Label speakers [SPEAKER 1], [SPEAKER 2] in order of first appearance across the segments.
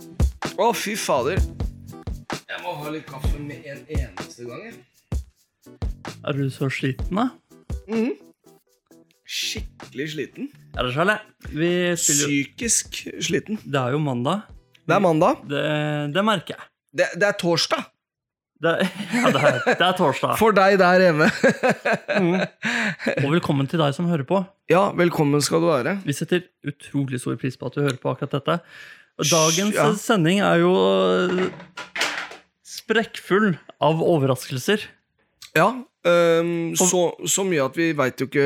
[SPEAKER 1] Å, fy fader. Jeg må ha litt kaffe med en eneste gang. jeg.
[SPEAKER 2] Er du så sliten, da? Mhm.
[SPEAKER 1] Skikkelig sliten.
[SPEAKER 2] Er det Charlie? Vi spiller jo
[SPEAKER 1] Psykisk sliten.
[SPEAKER 2] Det er jo mandag.
[SPEAKER 1] Det er mandag.
[SPEAKER 2] Det, det merker jeg.
[SPEAKER 1] Det, det er torsdag
[SPEAKER 2] Det, ja, det, er, det er torsdag.
[SPEAKER 1] for deg der hjemme.
[SPEAKER 2] Og velkommen til deg som hører på.
[SPEAKER 1] Ja, velkommen skal du være.
[SPEAKER 2] Vi setter utrolig stor pris på at du hører på akkurat dette. Og Dagens
[SPEAKER 1] Ja.
[SPEAKER 2] sending er jo eh, sprekkfull av overraskelser.
[SPEAKER 1] Ja. øhm, så, så mye at vi veit jo ikke,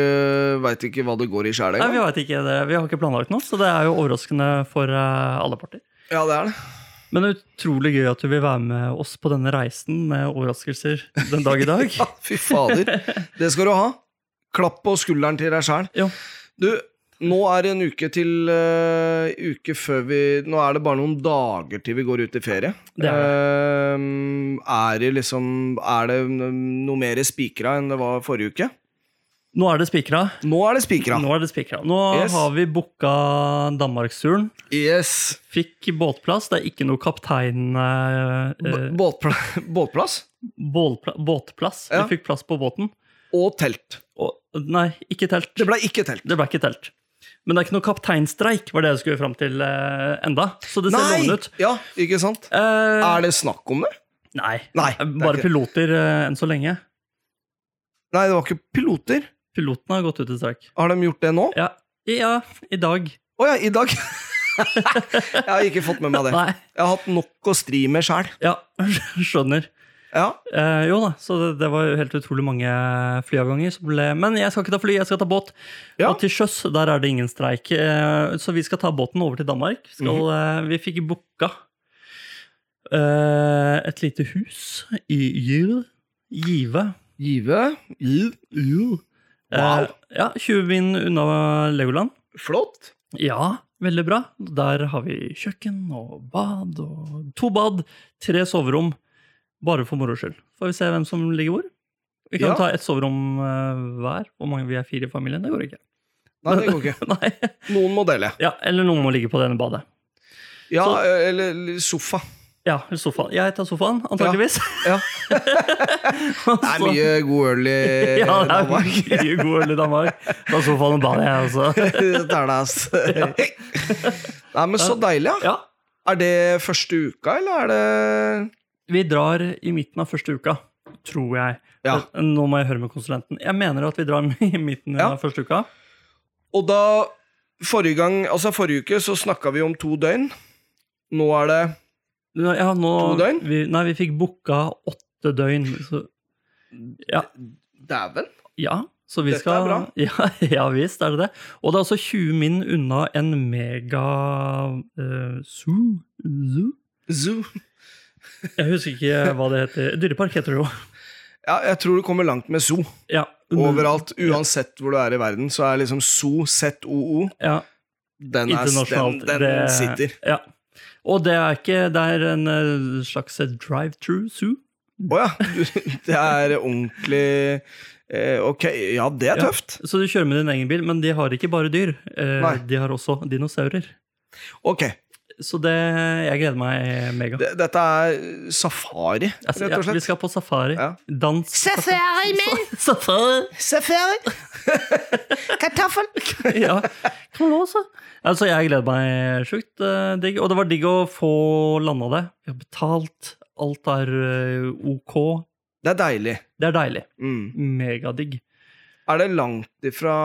[SPEAKER 1] vet ikke hva det går i sjæl
[SPEAKER 2] Nei, Vi
[SPEAKER 1] engang.
[SPEAKER 2] vet ikke det. Vi har ikke planlagt noe, så det er jo overraskende for eh, alle parter.
[SPEAKER 1] Ja, det er det.
[SPEAKER 2] Men det er utrolig gøy at du vil være med oss på denne reisen med overraskelser den dag i dag.
[SPEAKER 1] Ja, fy fader. Det skal du ha. Klapp på skulderen til deg sjæl.
[SPEAKER 2] Jo.
[SPEAKER 1] Du, nå er det en uke til eh, uke før vi Nå er det bare noen dager til vi går ut i ferie.
[SPEAKER 2] Det er
[SPEAKER 1] Eh, er det liksom Er det noe mer spikra enn det var forrige uke?
[SPEAKER 2] Nå er det spikra.
[SPEAKER 1] Nå er det spikra.
[SPEAKER 2] Nå er det spikra. Nå
[SPEAKER 1] Yes.
[SPEAKER 2] har vi booka Danmarksturen.
[SPEAKER 1] Yes.
[SPEAKER 2] Fikk båtplass. Det er ikke noe kaptein... Eh,
[SPEAKER 1] B-
[SPEAKER 2] eh,
[SPEAKER 1] båtpla båtplass
[SPEAKER 2] bålpla, båtplass.
[SPEAKER 1] Ja.
[SPEAKER 2] Vi fikk plass på båten.
[SPEAKER 1] og telt.
[SPEAKER 2] Og, nei, ikke telt.
[SPEAKER 1] Det ble ikke telt.
[SPEAKER 2] Det ble ikke telt. Men det er ikke noe kapteinstreik, var det jeg skulle fram til eh, enda. Så det ser lovende ut.
[SPEAKER 1] Ja, ikke sant?
[SPEAKER 2] Eh,
[SPEAKER 1] Er det snakk om det?
[SPEAKER 2] Nei.
[SPEAKER 1] Nei, det er
[SPEAKER 2] Bare
[SPEAKER 1] ikke det.
[SPEAKER 2] piloter eh, enn så lenge.
[SPEAKER 1] Nei, det var ikke piloter.
[SPEAKER 2] Pilotene har gått ut i streik.
[SPEAKER 1] Har de gjort det nå?
[SPEAKER 2] Ja, ja i dag.
[SPEAKER 1] Å ja, i dag. jeg har ikke fått med meg det.
[SPEAKER 2] Nei.
[SPEAKER 1] Jeg har hatt nok å stri med sjæl.
[SPEAKER 2] Ja, skjønner.
[SPEAKER 1] Ja.
[SPEAKER 2] Eh, jo da, så det, det var jo helt utrolig mange flyavganger som ble Men jeg skal ikke ta fly, jeg skal ta båt.
[SPEAKER 1] Ja.
[SPEAKER 2] Og til sjøs, der er det ingen streik. Eh, så vi skal ta båten over til Danmark. Skal, eh, vi fikk booka eh, et lite hus i Gyr. Give.
[SPEAKER 1] Give. Eh, Gi.
[SPEAKER 2] Wow.
[SPEAKER 1] Wow.
[SPEAKER 2] ja, 20 min unna Legoland.
[SPEAKER 1] Flott.
[SPEAKER 2] Ja, veldig bra. Der har vi kjøkken og bad og to bad, tre soverom. Bare for moro skyld. Får vi se hvem som ligger hvor. Vi kan
[SPEAKER 1] Ja.
[SPEAKER 2] ta ett soverom eh, hver. Hvor mange vi er fire i familien? Det går ikke.
[SPEAKER 1] Nei, det går ikke.
[SPEAKER 2] Nei.
[SPEAKER 1] Noen må dele.
[SPEAKER 2] Ja, eller noen må ligge på det ene badet.
[SPEAKER 1] Ja, eh,
[SPEAKER 2] Så-
[SPEAKER 1] eller sofa.
[SPEAKER 2] Ja, eller sofaen. Jeg tar sofaen, antakeligvis.
[SPEAKER 1] Ja. Det er mye god øl i
[SPEAKER 2] ja, det er
[SPEAKER 1] Danmark.
[SPEAKER 2] mye god øl i Danmark. Ta sofaen og badet, jeg også.
[SPEAKER 1] Dette er det, ass. Nei, men så deilig, ja.
[SPEAKER 2] Ja,
[SPEAKER 1] Er det første uka, eller er det
[SPEAKER 2] Vi drar i midten av første uka, tror jeg.
[SPEAKER 1] Ja.
[SPEAKER 2] Nå må jeg høre med konsulenten. Jeg mener at vi drar i midten
[SPEAKER 1] Ja.
[SPEAKER 2] av første uka.
[SPEAKER 1] Og da Forrige gang, altså forrige uke, så snakka vi om to døgn. Nå er det
[SPEAKER 2] Ja, nå,
[SPEAKER 1] To døgn?
[SPEAKER 2] Vi, nei, vi fikk booka åtte døgn. Så,
[SPEAKER 1] Dæven.
[SPEAKER 2] ja, så vi
[SPEAKER 1] Dette
[SPEAKER 2] skal
[SPEAKER 1] er bra.
[SPEAKER 2] Ja, ja visst er det det. Og det er også 20 min unna en mega eh, zoo, zoo?
[SPEAKER 1] Zoo.
[SPEAKER 2] Jeg husker ikke hva det heter. Dyrepark heter det jo.
[SPEAKER 1] Ja, jeg tror du kommer langt med zoo.
[SPEAKER 2] Ja.
[SPEAKER 1] Mm. Overalt, uansett hvor du er i verden, så er liksom zoo, ZOO,
[SPEAKER 2] Ja,
[SPEAKER 1] den, er, den,
[SPEAKER 2] internasjonalt.
[SPEAKER 1] den
[SPEAKER 2] Det-
[SPEAKER 1] sitter.
[SPEAKER 2] Ja. Og det er ikke Det er en eh, slags drive-through zoo.
[SPEAKER 1] Å ja. du- Det er ordentlig eh, Ok, ja, det er
[SPEAKER 2] Ja.
[SPEAKER 1] tøft.
[SPEAKER 2] Så du kjører med din egen bil, men de har ikke bare dyr. Eh,
[SPEAKER 1] Nei.
[SPEAKER 2] de har også dinosaurer.
[SPEAKER 1] Ok.
[SPEAKER 2] Så det Jeg gleder meg eh, mega.
[SPEAKER 1] Det, dette er safari,
[SPEAKER 2] Altså,
[SPEAKER 1] rett og
[SPEAKER 2] ja, vi
[SPEAKER 1] slett.
[SPEAKER 2] skal på safari.
[SPEAKER 1] Ja.
[SPEAKER 2] Dans
[SPEAKER 3] Safari, men!
[SPEAKER 2] Safari!
[SPEAKER 3] Safari! Kartoffel!
[SPEAKER 2] ja. Kom nå, så. Altså, jeg gleder meg sjukt eh, digg. Og det var digg å få landa det. Vi har betalt. Alt er eh, ok.
[SPEAKER 1] Det er deilig.
[SPEAKER 2] Det er deilig.
[SPEAKER 1] Mm.
[SPEAKER 2] Megadigg.
[SPEAKER 1] Er det langt ifra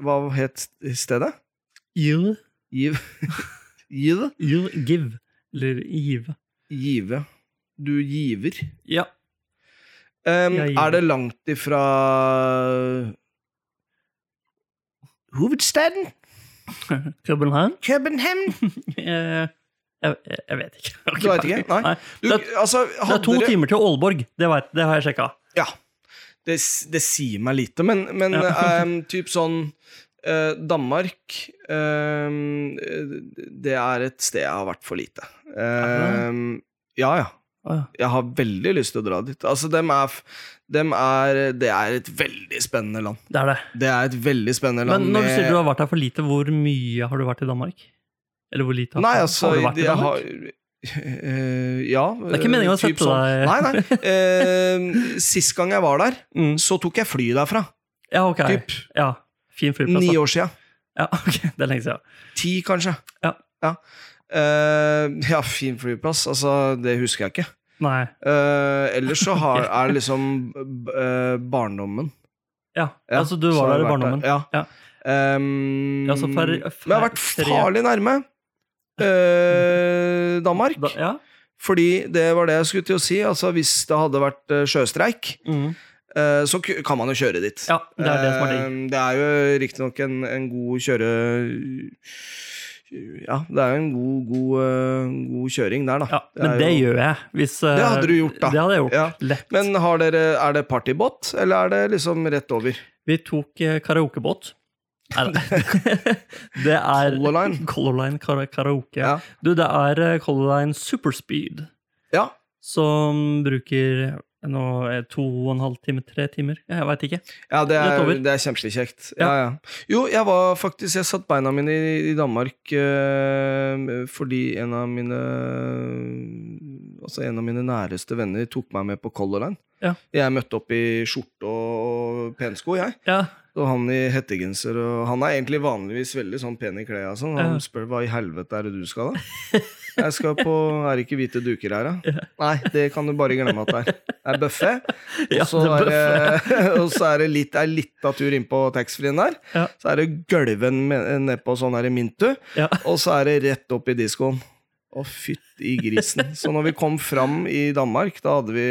[SPEAKER 1] Hva het stedet?
[SPEAKER 2] Give.
[SPEAKER 1] Giv... Giv?
[SPEAKER 2] Give. give. Eller give.
[SPEAKER 1] Give. Du giver.
[SPEAKER 2] Ja.
[SPEAKER 1] Em,
[SPEAKER 2] Jeg giver.
[SPEAKER 1] er det langt ifra Hovedstaden?
[SPEAKER 2] København?
[SPEAKER 1] København?
[SPEAKER 2] Eh, jeg, jeg vet ikke. Jeg har
[SPEAKER 1] Du vet ikke? Nei.
[SPEAKER 2] Nei.
[SPEAKER 1] Du,
[SPEAKER 2] Det,
[SPEAKER 1] altså,
[SPEAKER 2] det er
[SPEAKER 1] hadde
[SPEAKER 2] to
[SPEAKER 1] dere-
[SPEAKER 2] timer til Aalborg. Det, vet, det har jeg sjekka.
[SPEAKER 1] Ja. Det, s- det sier meg lite, men, men
[SPEAKER 2] Ja.
[SPEAKER 1] em, typ sånn eh, Danmark em, eh, Det er et sted jeg har vært for lite. Em, ja, ja.
[SPEAKER 2] Å, ja.
[SPEAKER 1] Jeg har veldig lyst til å dra dit. Altså, dem er, f- dem er Det er et veldig spennende land.
[SPEAKER 2] Det er det.
[SPEAKER 1] Det er et veldig spennende land.
[SPEAKER 2] Men når du
[SPEAKER 1] med-
[SPEAKER 2] sier du har vært her for lite, hvor mye har du vært i Danmark? Eller hvor lite har,
[SPEAKER 1] Nei, altså,
[SPEAKER 2] har du vært i
[SPEAKER 1] jeg
[SPEAKER 2] Danmark?
[SPEAKER 1] har, Eh, ja sånn.
[SPEAKER 2] Det er ikke meningen å sette deg-
[SPEAKER 1] Nei, nei. Eh, sist gang jeg var der,
[SPEAKER 2] Mm.
[SPEAKER 1] så tok jeg fly derfra.
[SPEAKER 2] Ja, ok.
[SPEAKER 1] Typ
[SPEAKER 2] Ja, fin flyplass.
[SPEAKER 1] ni
[SPEAKER 2] da.
[SPEAKER 1] år sia.
[SPEAKER 2] Ja, ok, Det er lenge siden.
[SPEAKER 1] Ti, kanskje.
[SPEAKER 2] Ja.
[SPEAKER 1] Ja. Eh, ja, fin flyplass. Altså, det husker jeg ikke.
[SPEAKER 2] Nei.
[SPEAKER 1] Eh, ellers så har, er det liksom eh, barndommen.
[SPEAKER 2] Ja,
[SPEAKER 1] Ja,
[SPEAKER 2] altså du
[SPEAKER 1] så
[SPEAKER 2] var
[SPEAKER 1] har jeg
[SPEAKER 2] der i
[SPEAKER 1] vært
[SPEAKER 2] barndommen.
[SPEAKER 1] Ja.
[SPEAKER 2] Ja.
[SPEAKER 1] Ehm,
[SPEAKER 2] Ja, så fer-
[SPEAKER 1] men jeg har vært
[SPEAKER 2] fer-
[SPEAKER 1] farlig nærme eh, Danmark.
[SPEAKER 2] Da, ja.
[SPEAKER 1] Fordi det var det jeg skulle til å si. Altså, hvis det hadde vært eh, sjøstreik,
[SPEAKER 2] Mm.
[SPEAKER 1] eh, så ku- kan man jo kjøre dit.
[SPEAKER 2] ja, det er det som er digg.
[SPEAKER 1] Eh, det er jo riktignok en, en god kjøre... Ja, det er jo en god, god, eh, god kjøring der, da.
[SPEAKER 2] Ja,
[SPEAKER 1] Det
[SPEAKER 2] men
[SPEAKER 1] er
[SPEAKER 2] det
[SPEAKER 1] jo-
[SPEAKER 2] gjør jeg. Hvis, eh,
[SPEAKER 1] Det hadde du gjort, da.
[SPEAKER 2] Det hadde jeg gjort.
[SPEAKER 1] Ja.
[SPEAKER 2] Lett.
[SPEAKER 1] Men har dere, er det partybåt, eller er det liksom rett over?
[SPEAKER 2] Vi tok eh, karaokebåt. Nei, nei. det er
[SPEAKER 1] Color Line.
[SPEAKER 2] Color Line kara karaoke.
[SPEAKER 1] Ja.
[SPEAKER 2] Du, det er eh, Color Line Superspeed
[SPEAKER 1] Ja.
[SPEAKER 2] som bruker eh, nå eh, to og en halv time, tre timer. Jeg veit ikke.
[SPEAKER 1] Ja, det
[SPEAKER 2] Rett
[SPEAKER 1] er,
[SPEAKER 2] over.
[SPEAKER 1] det er kjempekjekt. Ja.
[SPEAKER 2] Ja.
[SPEAKER 1] Ja, Jo, jeg var faktisk Jeg satt beina mine i, i Danmark eh, fordi en av mine Altså en av mine næreste venner tok meg med på Color Line.
[SPEAKER 2] Ja.
[SPEAKER 1] Jeg møtte opp i skjorte og pensko, jeg.
[SPEAKER 2] Ja,
[SPEAKER 1] Og han i hettegenser. Og han er egentlig vanligvis veldig sånn pen i klærne. Sånn. Han
[SPEAKER 2] Ja.
[SPEAKER 1] spør hva i helvete er det du skal, da? Jeg skal på Er det ikke hvite duker her, da? Nei, det kan du bare glemme at det er. Det er buffé.
[SPEAKER 2] Ja,
[SPEAKER 1] Og så
[SPEAKER 2] det er
[SPEAKER 1] er, det- og så er det litt, er litt av tur innpå taxfree-en der.
[SPEAKER 2] Ja.
[SPEAKER 1] Så er det gølven nedpå sånn her i Mintu,
[SPEAKER 2] Ja.
[SPEAKER 1] og så er det rett opp i diskoen. Å, fytti grisen. Så når vi kom fram i Danmark, da hadde vi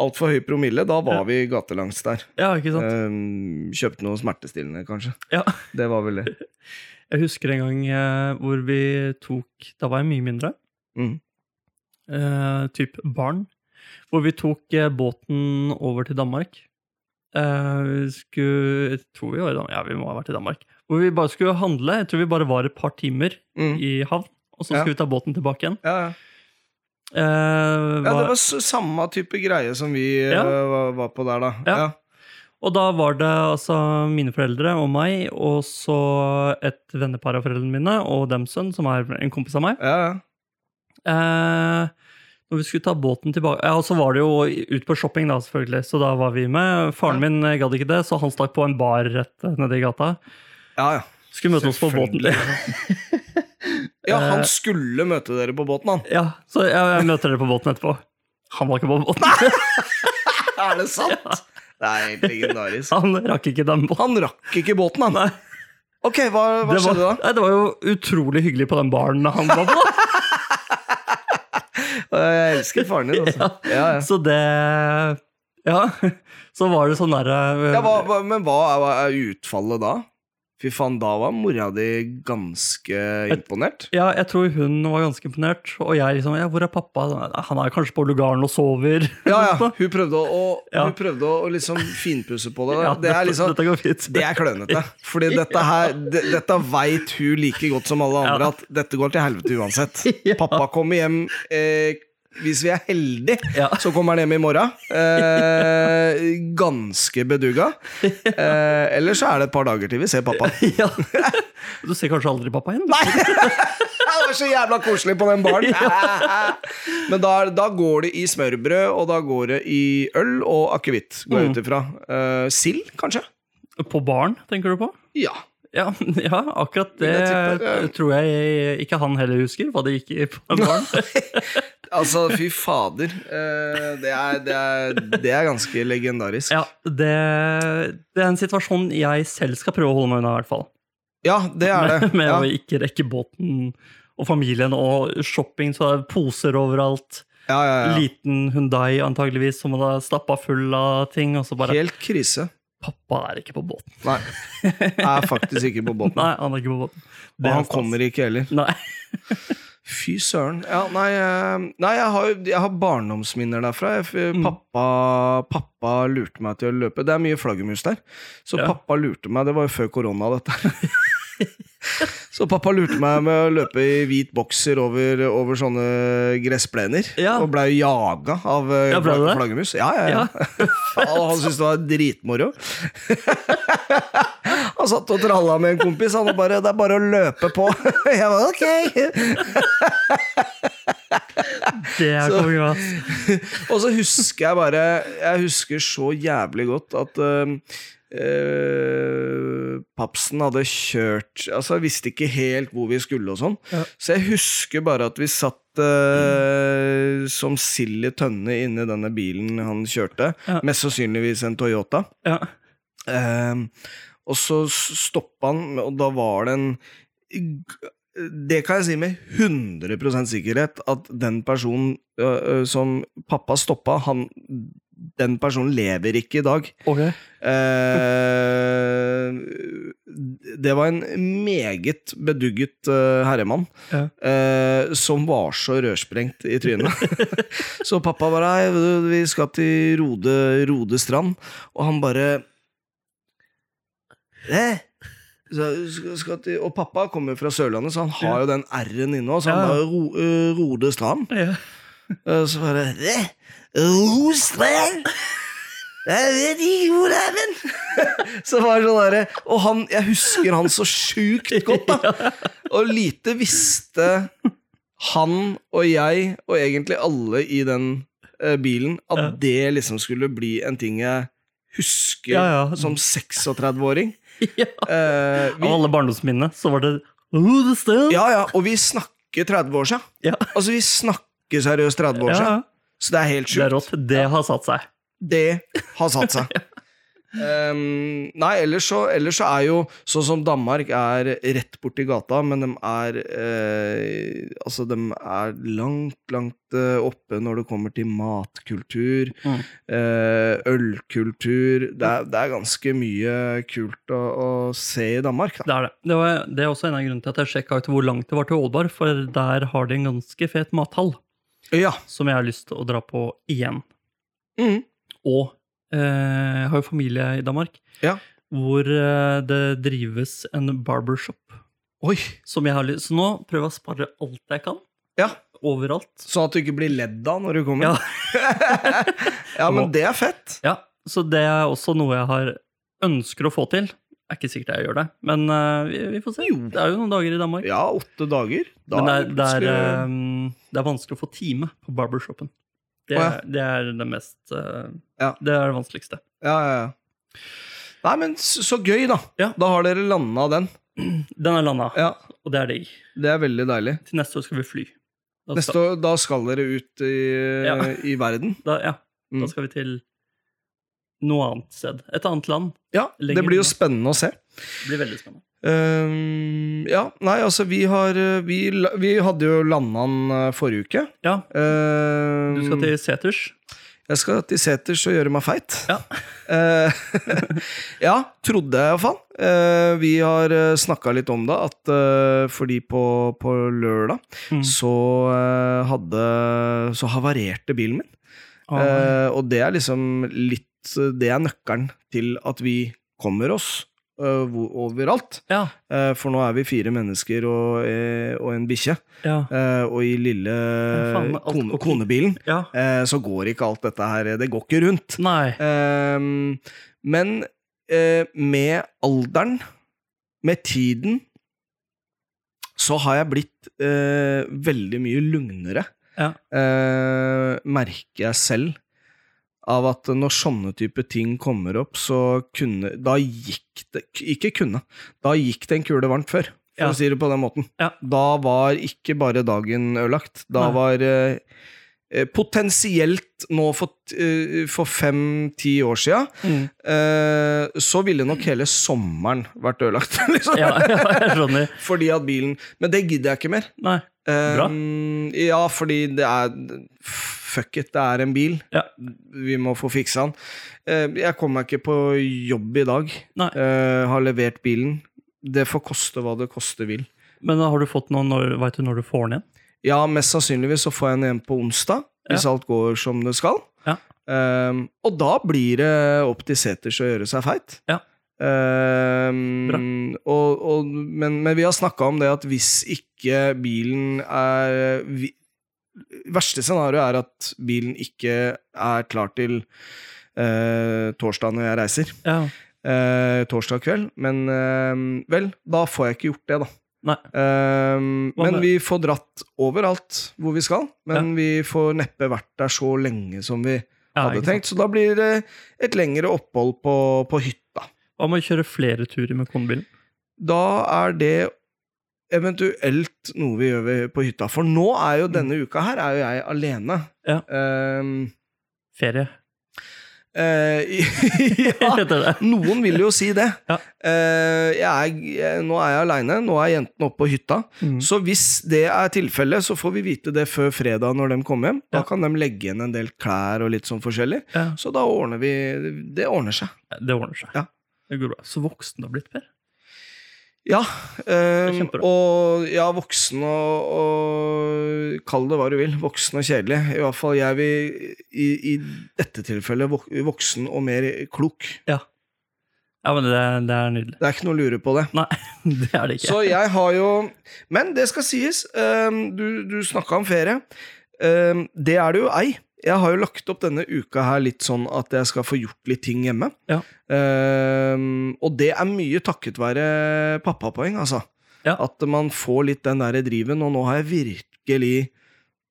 [SPEAKER 1] altfor høy promille. Da var vi gatelangs der.
[SPEAKER 2] ja ikke sant?
[SPEAKER 1] Um, kjøpte noe smertestillende, kanskje.
[SPEAKER 2] Ja.
[SPEAKER 1] Det var vel det.
[SPEAKER 2] Jeg husker en gang eh, hvor vi tok Da var jeg mye mindre.
[SPEAKER 1] Mhm.
[SPEAKER 2] Eh, typ barn. Hvor vi tok eh, båten over til Danmark. Eh, vi skulle Jeg tror vi var i Danmark. Ja, vi må ha vært i Danmark. Hvor vi bare skulle handle. Jeg tror vi bare var et par timer
[SPEAKER 1] Mm.
[SPEAKER 2] i havn. Og så
[SPEAKER 1] Ja.
[SPEAKER 2] skulle vi ta båten tilbake igjen.
[SPEAKER 1] Ja, ja.
[SPEAKER 2] Eh,
[SPEAKER 1] ja, det
[SPEAKER 2] hva-
[SPEAKER 1] var s- samme type greie som vi
[SPEAKER 2] Ja.
[SPEAKER 1] eh, var, var på der, da.
[SPEAKER 2] Ja.
[SPEAKER 1] Ja.
[SPEAKER 2] Og da var det altså mine foreldre og meg, og så et vennepar av foreldrene mine og dems sønn, som er en kompis av meg.
[SPEAKER 1] Ja, ja.
[SPEAKER 2] Eh, når vi skulle ta båten tilbake Ja, Og så var det jo ut på shopping, da, selvfølgelig. Så da var vi med. Faren min eh, gadd ikke det, så han stakk på en bar rett eh, nede i gata.
[SPEAKER 1] ja, ja.
[SPEAKER 2] Skulle møte oss på båten.
[SPEAKER 1] Ja,
[SPEAKER 2] Eh.
[SPEAKER 1] han skulle møte dere på båten, han.
[SPEAKER 2] Ja, Så jeg, jeg møter dere på båten etterpå. Han var ikke på båten.
[SPEAKER 1] Er det sant? Det er helt legendarisk.
[SPEAKER 2] Han rakk ikke den båten.
[SPEAKER 1] Han rakk ikke båten, han.
[SPEAKER 2] Nei.
[SPEAKER 1] Ok, hva, hva
[SPEAKER 2] det, var,
[SPEAKER 1] skjedde da?
[SPEAKER 2] nei, det var jo utrolig hyggelig på den baren han var på.
[SPEAKER 1] Jeg elsker faren din, altså. Ja, ja.
[SPEAKER 2] Så det Ja. Så var det sånn derre
[SPEAKER 1] Ja, hva, hva, men hva er, hva er utfallet da? Fy faen, da var mora di ganske imponert.
[SPEAKER 2] Ja, jeg tror hun var ganske imponert. Og jeg liksom ja, 'Hvor er pappa?' Nei, Han er kanskje på lugaren og sover.
[SPEAKER 1] Ja, ja. Hun prøvde å,
[SPEAKER 2] Ja.
[SPEAKER 1] hun prøvde å liksom finpusse på det.
[SPEAKER 2] Ja,
[SPEAKER 1] Det er
[SPEAKER 2] dette-
[SPEAKER 1] liksom
[SPEAKER 2] Dette går fint.
[SPEAKER 1] Det er klønete. Fordi dette her de, Dette veit hun like godt som alle andre,
[SPEAKER 2] Ja.
[SPEAKER 1] at dette går til helvete uansett.
[SPEAKER 2] Ja.
[SPEAKER 1] Pappa kommer hjem eh, Hvis vi er heldige,
[SPEAKER 2] Ja.
[SPEAKER 1] så kommer han hjem i morgen. Eh, ganske bedugga. Eh, Eller så er det et par dager til vi ser pappa.
[SPEAKER 2] Ja. Du ser kanskje aldri pappa igjen?
[SPEAKER 1] Nei! Det var så jævla koselig på den baren. Men da, er- da går det i smørbrød, og da går det i øl og akevitt, går
[SPEAKER 2] Mm.
[SPEAKER 1] jeg ut ifra. Eh, sild, kanskje?
[SPEAKER 2] På baren, tenker du på?
[SPEAKER 1] Ja.
[SPEAKER 2] Ja, ja akkurat det
[SPEAKER 1] Vil jeg tippe, ja.
[SPEAKER 2] tror jeg ikke han heller husker, hva det gikk i på den baren.
[SPEAKER 1] Altså, fy fader. Eh, det, er, det, er, det er ganske legendarisk.
[SPEAKER 2] Ja, det, det er en situasjon jeg selv skal prøve å holde meg unna, i hvert fall.
[SPEAKER 1] Ja, det er det.
[SPEAKER 2] Med
[SPEAKER 1] Ja,
[SPEAKER 2] å ikke rekke båten og familien og shopping, så det er poser overalt.
[SPEAKER 1] ja, ja, ja.
[SPEAKER 2] Liten Hundai antageligvis, som hadde stappa full av ting. Og så bare
[SPEAKER 1] Helt krise.
[SPEAKER 2] Pappa er ikke på båten.
[SPEAKER 1] Nei. Er faktisk ikke på båten.
[SPEAKER 2] Nei, han er ikke på båten.
[SPEAKER 1] Og han kommer ikke heller.
[SPEAKER 2] Nei.
[SPEAKER 1] Fy søren. Ja, nei, eh, nei jeg, har, jo- jeg har barndomsminner derfra. Jeg, eh,
[SPEAKER 2] Mm.
[SPEAKER 1] pappa, pappa lurte meg til å løpe. Det er mye flaggermus der. Så
[SPEAKER 2] Ja.
[SPEAKER 1] pappa lurte meg Det var jo før korona, dette. Så pappa lurte meg med å løpe i hvit bokser over, over sånne gressplener.
[SPEAKER 2] Ja.
[SPEAKER 1] Og blei jaga av eh,
[SPEAKER 2] Ja, ble du det?
[SPEAKER 1] flaggermus. Ja, ja, ja. Faen, han syntes det var dritmoro. han satt og tralla med en kompis. Han var bare 'Det er bare å løpe på'. Jeg var ok.
[SPEAKER 2] Det er
[SPEAKER 1] Så-
[SPEAKER 2] kongen, ass.
[SPEAKER 1] Og så husker jeg bare Jeg husker så jævlig godt at øhm, øh, Papsen hadde kjørt Altså, jeg visste ikke helt hvor vi skulle og sånn.
[SPEAKER 2] Ja.
[SPEAKER 1] Så jeg husker bare at vi satt øh, som sild i tønne inni denne bilen han kjørte.
[SPEAKER 2] Ja.
[SPEAKER 1] Mest sannsynligvis en Toyota.
[SPEAKER 2] Ja.
[SPEAKER 1] Ehm, og så stoppa han, og da var det en Det kan jeg si med 100 sikkerhet at den personen ø, ø, som pappa stoppa, han Den personen lever ikke i dag.
[SPEAKER 2] Ok.
[SPEAKER 1] Ehm, det var en meget bedugget ø, herremann
[SPEAKER 2] Ja.
[SPEAKER 1] ø, som var så rørsprengt i trynet. så pappa bare Hei, du, vi skal til Rode, Rode strand, og han bare Hæ? Så skal- skal til, og pappa kommer fra Sørlandet, så han har jo den R-en inne òg. Så han
[SPEAKER 2] Ja.
[SPEAKER 1] bare ro, eh, Rode Strand.
[SPEAKER 2] Ja.
[SPEAKER 1] Eh, Så bare «Hæ? Ro Strand? Jeg vet ikke hvor det er, men Så var det sånn derre Og han, jeg husker han så sjukt godt, da. Og lite visste han og jeg, og egentlig alle i den eh, bilen, at
[SPEAKER 2] Ja.
[SPEAKER 1] det liksom skulle bli en ting jeg husker
[SPEAKER 2] Ja, ja.
[SPEAKER 1] som 36-åring.
[SPEAKER 2] ja.
[SPEAKER 1] Eh,
[SPEAKER 2] Av
[SPEAKER 1] vi,
[SPEAKER 2] alle barndomsminnene så var det oh, det sted.
[SPEAKER 1] ja, ja, og vi snakker 30 år siden.
[SPEAKER 2] Ja.
[SPEAKER 1] Altså, vi snakker seriøst 30 år
[SPEAKER 2] Ja,
[SPEAKER 1] siden.
[SPEAKER 2] ja.
[SPEAKER 1] Så det er helt
[SPEAKER 2] Det er
[SPEAKER 1] sjukt.
[SPEAKER 2] rått. Det har satt seg.
[SPEAKER 1] Det har satt seg. Ehm, nei, ellers så, ellers så er jo Sånn som Danmark er rett borti gata, men de er eh, Altså, de er langt, langt eh, oppe når det kommer til matkultur,
[SPEAKER 2] Mm.
[SPEAKER 1] eh, ølkultur det er, det er ganske mye kult å, å se i Danmark, da.
[SPEAKER 2] Det er det. Det, var, det er også en av grunnene til at jeg sjekka ut hvor langt det var til Ålbar, for der har de en ganske fet mathall
[SPEAKER 1] Ja.
[SPEAKER 2] som jeg har lyst til å dra på igjen.
[SPEAKER 1] Mm.
[SPEAKER 2] Og eh, jeg har jo familie i Danmark,
[SPEAKER 1] Ja.
[SPEAKER 2] hvor eh, det drives en barbershop.
[SPEAKER 1] Oi!
[SPEAKER 2] Som jeg har lyst. Så nå prøver jeg å spare alt jeg kan,
[SPEAKER 1] Ja.
[SPEAKER 2] overalt.
[SPEAKER 1] Sånn at du ikke blir ledd av når du kommer.
[SPEAKER 2] Ja.
[SPEAKER 1] ja, men det er fett.
[SPEAKER 2] Ja, så det er også noe jeg har ønsker å få til. Det er ikke sikkert jeg gjør det, men eh, vi, vi får se.
[SPEAKER 1] Jo.
[SPEAKER 2] Det er jo noen dager i Danmark.
[SPEAKER 1] Ja, åtte dager. Da
[SPEAKER 2] men det er,
[SPEAKER 1] er det
[SPEAKER 2] det, er,
[SPEAKER 1] plutselig-
[SPEAKER 2] eh, det er vanskelig å få time på barbershopen. Det,
[SPEAKER 1] Å,
[SPEAKER 2] er-
[SPEAKER 1] ja.
[SPEAKER 2] det er det mest eh,
[SPEAKER 1] Ja.
[SPEAKER 2] Det er det vanskeligste.
[SPEAKER 1] Ja, ja, ja. Nei, men så, så gøy, da.
[SPEAKER 2] Ja.
[SPEAKER 1] Da har dere landa den.
[SPEAKER 2] Den er landa,
[SPEAKER 1] Ja,
[SPEAKER 2] og det er digg.
[SPEAKER 1] Det er veldig deilig.
[SPEAKER 2] Til neste år skal vi fly. Da
[SPEAKER 1] Neste
[SPEAKER 2] skal,
[SPEAKER 1] år, da skal dere ut i,
[SPEAKER 2] Ja.
[SPEAKER 1] i verden.
[SPEAKER 2] Da, ja,
[SPEAKER 1] Mm.
[SPEAKER 2] da skal vi til noe annet sted. Et annet land.
[SPEAKER 1] Ja,
[SPEAKER 2] Lenger
[SPEAKER 1] det blir
[SPEAKER 2] unna.
[SPEAKER 1] jo spennende å se.
[SPEAKER 2] Det blir veldig spennende.
[SPEAKER 1] Ehm, ja, nei, altså, vi har eh, Vi, la- vi hadde jo landa den eh, forrige uke.
[SPEAKER 2] Ja,
[SPEAKER 1] Ehm,
[SPEAKER 2] du skal til Seters.
[SPEAKER 1] Jeg skal til seters og gjøre meg feit.
[SPEAKER 2] Ja.
[SPEAKER 1] Eh, ja, trodde jeg iallfall. Uh, vi har snakka litt om det, at eh, fordi på, på lørdag
[SPEAKER 2] Mm.
[SPEAKER 1] så eh, hadde Så havarerte bilen min.
[SPEAKER 2] Ah,
[SPEAKER 1] Eh, og det er liksom litt Det er nøkkelen til at vi kommer oss eh, hvor- overalt.
[SPEAKER 2] ja,
[SPEAKER 1] Eh, for nå er vi fire mennesker og, eh, og en bikkje.
[SPEAKER 2] ja,
[SPEAKER 1] Eh, og i lille
[SPEAKER 2] faen, alt
[SPEAKER 1] kone,
[SPEAKER 2] koker.
[SPEAKER 1] konebilen
[SPEAKER 2] ja.
[SPEAKER 1] eh, så går ikke alt dette her Det går ikke rundt.
[SPEAKER 2] Nei.
[SPEAKER 1] Ehm, men eh, med alderen, med tiden, så har jeg blitt eh, veldig mye lugnere,
[SPEAKER 2] Ja.
[SPEAKER 1] eh, merker jeg selv. Av at når sånne type ting kommer opp, så kunne Da gikk det Ikke kunne. Da gikk det en kule varmt før, for
[SPEAKER 2] Ja.
[SPEAKER 1] å si det på den måten.
[SPEAKER 2] Ja.
[SPEAKER 1] Da var ikke bare dagen ødelagt. Da
[SPEAKER 2] Nei.
[SPEAKER 1] var eh, eh, Potensielt nå for, eh, for fem-ti år sia,
[SPEAKER 2] Mm.
[SPEAKER 1] eh, så ville nok hele sommeren vært ødelagt. Liksom.
[SPEAKER 2] Ja, ja, jeg skjønner.
[SPEAKER 1] Fordi at bilen Men det gidder jeg ikke mer.
[SPEAKER 2] Nei.
[SPEAKER 1] Eh,
[SPEAKER 2] Bra.
[SPEAKER 1] ja, fordi det er Fuck it, det er en bil.
[SPEAKER 2] Ja.
[SPEAKER 1] Vi må få fiksa den. Eh, jeg kom meg ikke på jobb i dag.
[SPEAKER 2] Nei.
[SPEAKER 1] Eh, har levert bilen. Det får koste hva det koste vil.
[SPEAKER 2] Men har du fått noen når, Vet du når du får den igjen?
[SPEAKER 1] Ja, mest sannsynligvis så får jeg den hjem på onsdag, hvis alt går som det skal.
[SPEAKER 2] Ja.
[SPEAKER 1] Ehm, og da blir det opp til seters å gjøre seg feit.
[SPEAKER 2] Ja.
[SPEAKER 1] Ehm, og, og, men, men vi har snakka om det at hvis ikke bilen er vi, Verste scenario er at bilen ikke er klar til eh, torsdag når jeg reiser.
[SPEAKER 2] Ja.
[SPEAKER 1] Eh, torsdag kveld. Men eh, vel, da ehm, får jeg ikke gjort det, da.
[SPEAKER 2] Nei.
[SPEAKER 1] Ehm,
[SPEAKER 2] Hva
[SPEAKER 1] men
[SPEAKER 2] med-
[SPEAKER 1] vi får dratt overalt hvor vi skal. Men vi får neppe vært der så lenge som vi
[SPEAKER 2] Ja,
[SPEAKER 1] hadde
[SPEAKER 2] ikke sant.
[SPEAKER 1] tenkt. Så da blir det et lengre opphold på, på hytta.
[SPEAKER 2] Hva med å kjøre flere turer med kombilen?
[SPEAKER 1] Da er det eventuelt noe vi gjør ved- på hytta. For nå er jo denne uka her er jo jeg alene.
[SPEAKER 2] Mm. Ja.
[SPEAKER 1] Ehm,
[SPEAKER 2] Ferie.
[SPEAKER 1] eh, ja.
[SPEAKER 2] Heter det.
[SPEAKER 1] Noen vil jo si det.
[SPEAKER 2] Ja.
[SPEAKER 1] Eh, jeg er, nå er jeg aleine. Nå er jentene oppe på hytta.
[SPEAKER 2] Mm.
[SPEAKER 1] Så hvis det er tilfellet, så får vi vite det før fredag når de kommer hjem. Da
[SPEAKER 2] Ja.
[SPEAKER 1] kan de legge igjen en del klær og litt sånn forskjellig.
[SPEAKER 2] Ja.
[SPEAKER 1] Så da ordner vi Det ordner seg.
[SPEAKER 2] Det ordner seg.
[SPEAKER 1] Ja.
[SPEAKER 2] Det går bra. Så voksen du har blitt, Per.
[SPEAKER 1] Ja. eh,
[SPEAKER 2] Det er kjempebra.
[SPEAKER 1] og ja, voksen og, og Kall det hva du vil. Voksen og kjedelig. I hvert fall jeg vil i, i dette tilfellet vok- voksen og mer klok.
[SPEAKER 2] Ja, men det, det er nydelig.
[SPEAKER 1] Det er ikke noe å lure på det.
[SPEAKER 2] Nei, det er det ikke.
[SPEAKER 1] Så jeg har jo Men det skal sies. ehm, du du snakka om ferie. Ehm, det er det jo ei. Jeg har jo lagt opp denne uka her litt sånn at jeg skal få gjort litt ting hjemme.
[SPEAKER 2] Ja.
[SPEAKER 1] Ehm, og det er mye takket være pappapoeng, altså.
[SPEAKER 2] Ja.
[SPEAKER 1] At man får litt den derre driven, og nå har jeg virkelig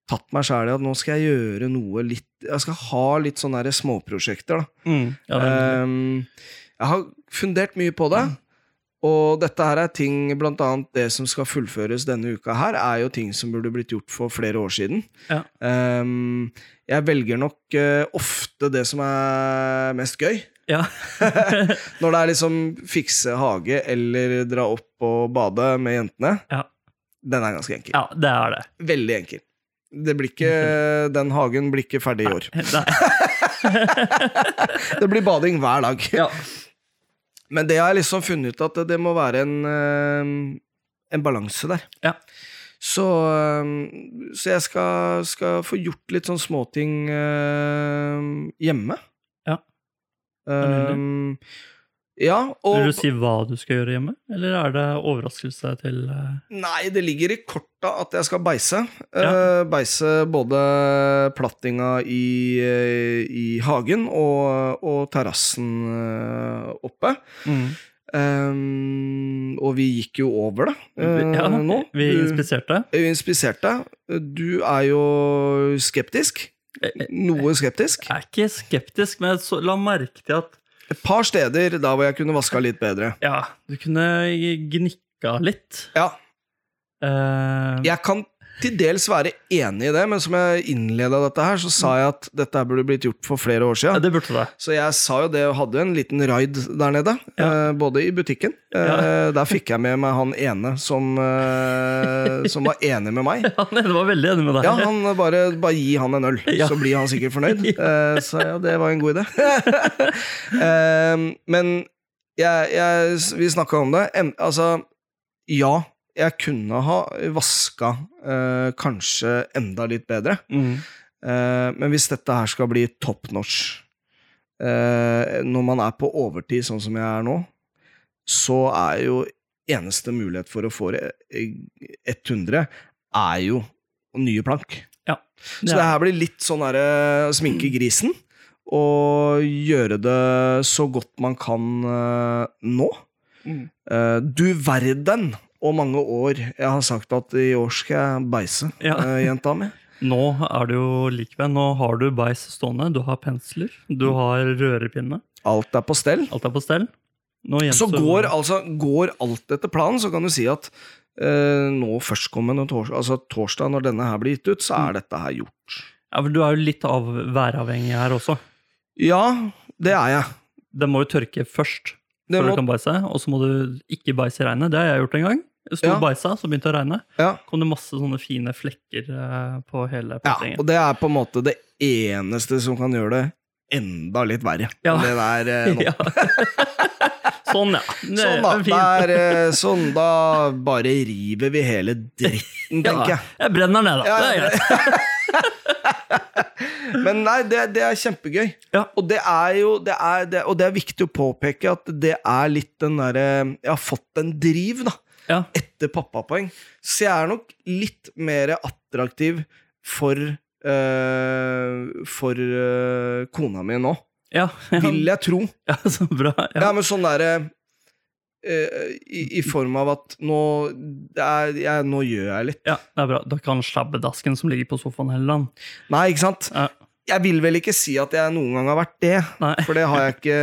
[SPEAKER 1] tatt meg sjæl i at nå skal jeg gjøre noe litt Jeg skal ha litt sånne derre småprosjekter, da.
[SPEAKER 2] Mm. Ja, det er nydelig.
[SPEAKER 1] Ehm, jeg har fundert mye på det. Og dette her er ting, blant annet det som skal fullføres denne uka her, er jo ting som burde blitt gjort for flere år siden.
[SPEAKER 2] Ja.
[SPEAKER 1] Ehm, jeg velger nok eh, ofte det som er mest gøy.
[SPEAKER 2] ja.
[SPEAKER 1] Når det er liksom fikse hage eller dra opp og bade med jentene.
[SPEAKER 2] Ja.
[SPEAKER 1] Den er ganske enkel.
[SPEAKER 2] ja, det er det.
[SPEAKER 1] Veldig enkel. Det blir ikke, den hagen blir ikke ferdig i år.
[SPEAKER 2] Mm. Nei.
[SPEAKER 1] Det blir bading hver dag.
[SPEAKER 2] Ja.
[SPEAKER 1] Men det har jeg liksom funnet ut at det, det må være en, eh, en balanse der.
[SPEAKER 2] Ja.
[SPEAKER 1] Så, eh, så jeg skal, skal få gjort litt sånn småting eh, hjemme.
[SPEAKER 2] Ja.
[SPEAKER 1] Eh, ja,
[SPEAKER 2] Vil
[SPEAKER 1] og
[SPEAKER 2] du si hva du skal gjøre hjemme, eller er det overraskelse til eh,
[SPEAKER 1] Nei, det ligger i korta at jeg skal beise.
[SPEAKER 2] Ja.
[SPEAKER 1] Eh, beise både plattinga i, eh, i hagen og, og terrassen eh, oppe.
[SPEAKER 2] Mm.
[SPEAKER 1] Ehm, og vi gikk jo over det eh,
[SPEAKER 2] Ja,
[SPEAKER 1] nå.
[SPEAKER 2] vi
[SPEAKER 1] Du,
[SPEAKER 2] inspiserte.
[SPEAKER 1] vi inspiserte. Du er jo skeptisk.
[SPEAKER 2] Jeg
[SPEAKER 1] Noe skeptisk.
[SPEAKER 2] er ikke skeptisk, men jeg så, la merke til at
[SPEAKER 1] Et par steder der hvor jeg kunne vaska litt bedre.
[SPEAKER 2] ja, du kunne gnikka litt.
[SPEAKER 1] Ja,
[SPEAKER 2] Eh,
[SPEAKER 1] jeg kan til dels være enig i det, men som jeg innleda dette her, så sa jeg at dette her burde blitt gjort for flere år
[SPEAKER 2] ja,
[SPEAKER 1] siden.
[SPEAKER 2] det burde det.
[SPEAKER 1] Så jeg sa jo det, og hadde jo en liten raid der nede,
[SPEAKER 2] Ja.
[SPEAKER 1] eh, både i butikken. Eh, der fikk jeg med meg han ene som, eh, som var enig med meg.
[SPEAKER 2] Han ene var veldig enig med deg.
[SPEAKER 1] Ja, han eh, bare, bare gi han en øl,
[SPEAKER 2] Ja.
[SPEAKER 1] så blir han sikkert fornøyd. Eh, så ja, det var en god idé. Eh, men jeg, jeg, vi snakka om det. Em, altså, ja, jeg kunne ha vaska eh, kanskje enda litt bedre.
[SPEAKER 2] Mm.
[SPEAKER 1] Eh, men hvis dette her skal bli top notch eh, når man er på overtid, sånn som jeg er nå, så er jo eneste mulighet for å få det, eh, 100, er jo nye plank. Så det
[SPEAKER 2] Ja.
[SPEAKER 1] her blir litt sånn derre sminke grisen. Og gjøre det så godt man kan eh, nå.
[SPEAKER 2] Mm.
[SPEAKER 1] Eh, du verden og mange år jeg har sagt at i år skal jeg beise,
[SPEAKER 2] Ja.
[SPEAKER 1] eh, jenta mi.
[SPEAKER 2] Nå er det jo likevel. Nå har du beis stående, du har pensler,
[SPEAKER 1] Mm.
[SPEAKER 2] du har rørepinne.
[SPEAKER 1] Alt er på stell.
[SPEAKER 2] Alt er på stell. Nå
[SPEAKER 1] Så
[SPEAKER 2] gjenstår-
[SPEAKER 1] går, altså, går alt etter planen, så kan du si at eh, nå førstkommende torsdag, altså torsdag når denne her blir gitt ut,
[SPEAKER 2] Mm.
[SPEAKER 1] så er dette her gjort.
[SPEAKER 2] ja, men Du er jo litt av væravhengig her også.
[SPEAKER 1] Ja, det er jeg.
[SPEAKER 2] Den må jo tørke først,
[SPEAKER 1] Det
[SPEAKER 2] før du
[SPEAKER 1] må,
[SPEAKER 2] kan beise. Og så må du ikke beise i regnet. Det har jeg gjort en gang. Jeg sto
[SPEAKER 1] Ja.
[SPEAKER 2] og beisa, så begynte det å regne.
[SPEAKER 1] ja.
[SPEAKER 2] kom det masse sånne fine flekker eh, på hele
[SPEAKER 1] ja,
[SPEAKER 2] plantingen.
[SPEAKER 1] og det er på en måte det eneste som kan gjøre det enda litt verre.
[SPEAKER 2] Ja.
[SPEAKER 1] enn Det der eh, nå.
[SPEAKER 2] Ja. sånn, ja. Det
[SPEAKER 1] Sånn, da.
[SPEAKER 2] er fint.
[SPEAKER 1] Der, eh, sånn, da bare river vi hele dritten, tenker jeg.
[SPEAKER 2] Jeg brenner ned, da.
[SPEAKER 1] Ja,
[SPEAKER 2] det er
[SPEAKER 1] ja.
[SPEAKER 2] greit.
[SPEAKER 1] Men nei, det, det er kjempegøy.
[SPEAKER 2] Ja.
[SPEAKER 1] Og det er jo det er, det, Og det er viktig å påpeke at det er litt den derre Jeg har fått en driv, da.
[SPEAKER 2] Ja.
[SPEAKER 1] Etter pappapoeng. Så jeg er nok litt mer attraktiv for eh, For eh, kona mi nå,
[SPEAKER 2] Ja.
[SPEAKER 1] vil jeg tro.
[SPEAKER 2] ja, så bra.
[SPEAKER 1] Ja,
[SPEAKER 2] Ja.
[SPEAKER 1] men sånn derre eh, i, i form av at nå, det er, jeg, nå gjør jeg litt.
[SPEAKER 2] Ja, det er bra. Da kan slabbedasken som ligger på sofaen Helleland
[SPEAKER 1] Nei, ikke sant?
[SPEAKER 2] Ja.
[SPEAKER 1] Jeg vil vel ikke si at jeg noen gang har vært det,
[SPEAKER 2] Nei.
[SPEAKER 1] for det har jeg ikke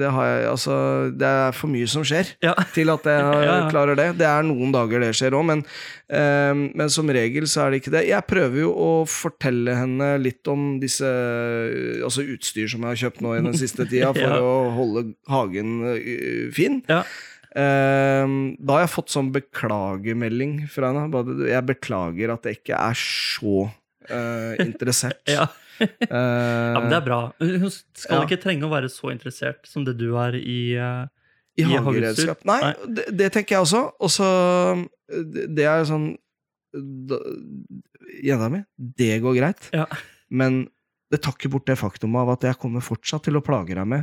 [SPEAKER 1] Det, har jeg, altså, det er for mye som skjer
[SPEAKER 2] Ja.
[SPEAKER 1] til at jeg har-
[SPEAKER 2] Ja, ja.
[SPEAKER 1] klarer det. Det er noen dager det skjer òg, men, eh, men som regel så er det ikke det. Jeg prøver jo å fortelle henne litt om disse eh, altså utstyr som jeg har kjøpt nå i den siste tida, for
[SPEAKER 2] Ja.
[SPEAKER 1] å holde hagen eh, fin.
[SPEAKER 2] Ja.
[SPEAKER 1] Eh, da har jeg fått sånn beklagemelding fra henne. Bare, Jeg beklager at jeg ikke er så eh, interessert.
[SPEAKER 2] Ja.
[SPEAKER 1] Eh,
[SPEAKER 2] ja, men det er bra. Hun skal
[SPEAKER 1] Ja.
[SPEAKER 2] ikke trenge å være så interessert som det du er i eh,
[SPEAKER 1] I
[SPEAKER 2] I
[SPEAKER 1] hageredskap.
[SPEAKER 2] hageredskap?
[SPEAKER 1] Nei,
[SPEAKER 2] Nei.
[SPEAKER 1] Det, det tenker jeg også. Og så det, det er sånn da- Jenta mi, det går greit,
[SPEAKER 2] Ja.
[SPEAKER 1] men det tar ikke bort det faktum av at jeg kommer fortsatt til å plage deg med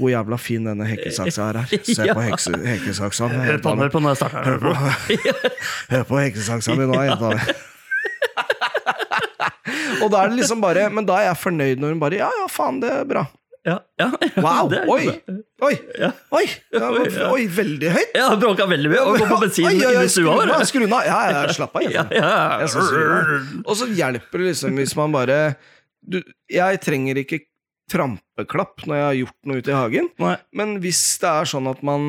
[SPEAKER 1] hvor jævla fin denne hekkesaksa her er. Se
[SPEAKER 2] Ja.
[SPEAKER 1] på hekse, hekkesaksa mi,
[SPEAKER 2] Hør på,
[SPEAKER 1] jenta mi.
[SPEAKER 2] Eh, hør på når jeg starter.
[SPEAKER 1] Hør på,
[SPEAKER 2] Hør på.
[SPEAKER 1] hør på hekkesaksa mi nå, jenta mi. Og da er det liksom bare Men da er jeg fornøyd når hun bare Ja, ja, faen, det er bra.
[SPEAKER 2] Ja, ja, ja,
[SPEAKER 1] Wow,
[SPEAKER 2] det er
[SPEAKER 1] oi.
[SPEAKER 2] bra.
[SPEAKER 1] Oi!
[SPEAKER 2] Ja.
[SPEAKER 1] Oi! Ja,
[SPEAKER 2] Oi, ja.
[SPEAKER 1] oi veldig høyt!
[SPEAKER 2] Ja, han bråka veldig mye og går på bensin
[SPEAKER 1] Oi, oi, oi,
[SPEAKER 2] i stua.
[SPEAKER 1] skru unna,
[SPEAKER 2] bare.
[SPEAKER 1] Skru unna! Ja, ja, slapp av.
[SPEAKER 2] Ja,
[SPEAKER 1] Jørgen.
[SPEAKER 2] ja.
[SPEAKER 1] Jeg synes det er Og så hjelper det liksom hvis man bare du, Jeg trenger ikke trampeklapp når jeg har gjort noe ute i hagen,
[SPEAKER 2] Nei,
[SPEAKER 1] men hvis det er sånn at man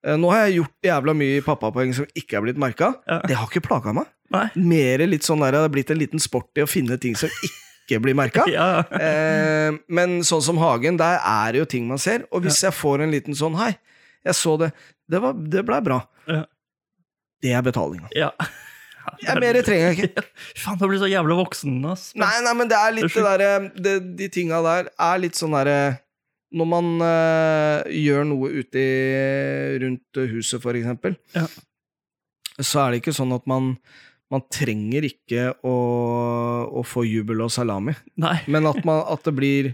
[SPEAKER 1] eh, Nå har jeg gjort jævla mye pappapoeng som ikke er blitt merka.
[SPEAKER 2] Ja.
[SPEAKER 1] Det har ikke plaga meg.
[SPEAKER 2] nei.
[SPEAKER 1] Mer litt sånn der, Det har blitt en liten sport i å finne ting som ikke blir merka.
[SPEAKER 2] Ja, ja.
[SPEAKER 1] Eh, men sånn som Hagen, der er det jo ting man ser. Og hvis jeg får en liten sånn 'hei, jeg så det, det, var- det blei bra',
[SPEAKER 2] Ja.
[SPEAKER 1] det er betalinga.
[SPEAKER 2] ja.
[SPEAKER 1] Ja, mer trenger jeg ikke.
[SPEAKER 2] Faen, da blir du så jævla voksen, ass.
[SPEAKER 1] Nei, nei, men det er litt
[SPEAKER 2] Det er
[SPEAKER 1] det derre det- De tinga der er litt sånn derre Når man eh, gjør noe ute i, rundt huset, for eksempel,
[SPEAKER 2] Ja.
[SPEAKER 1] så er det ikke sånn at man man trenger ikke å, å få jubel og salami.
[SPEAKER 2] Nei.
[SPEAKER 1] Men at, man, at det blir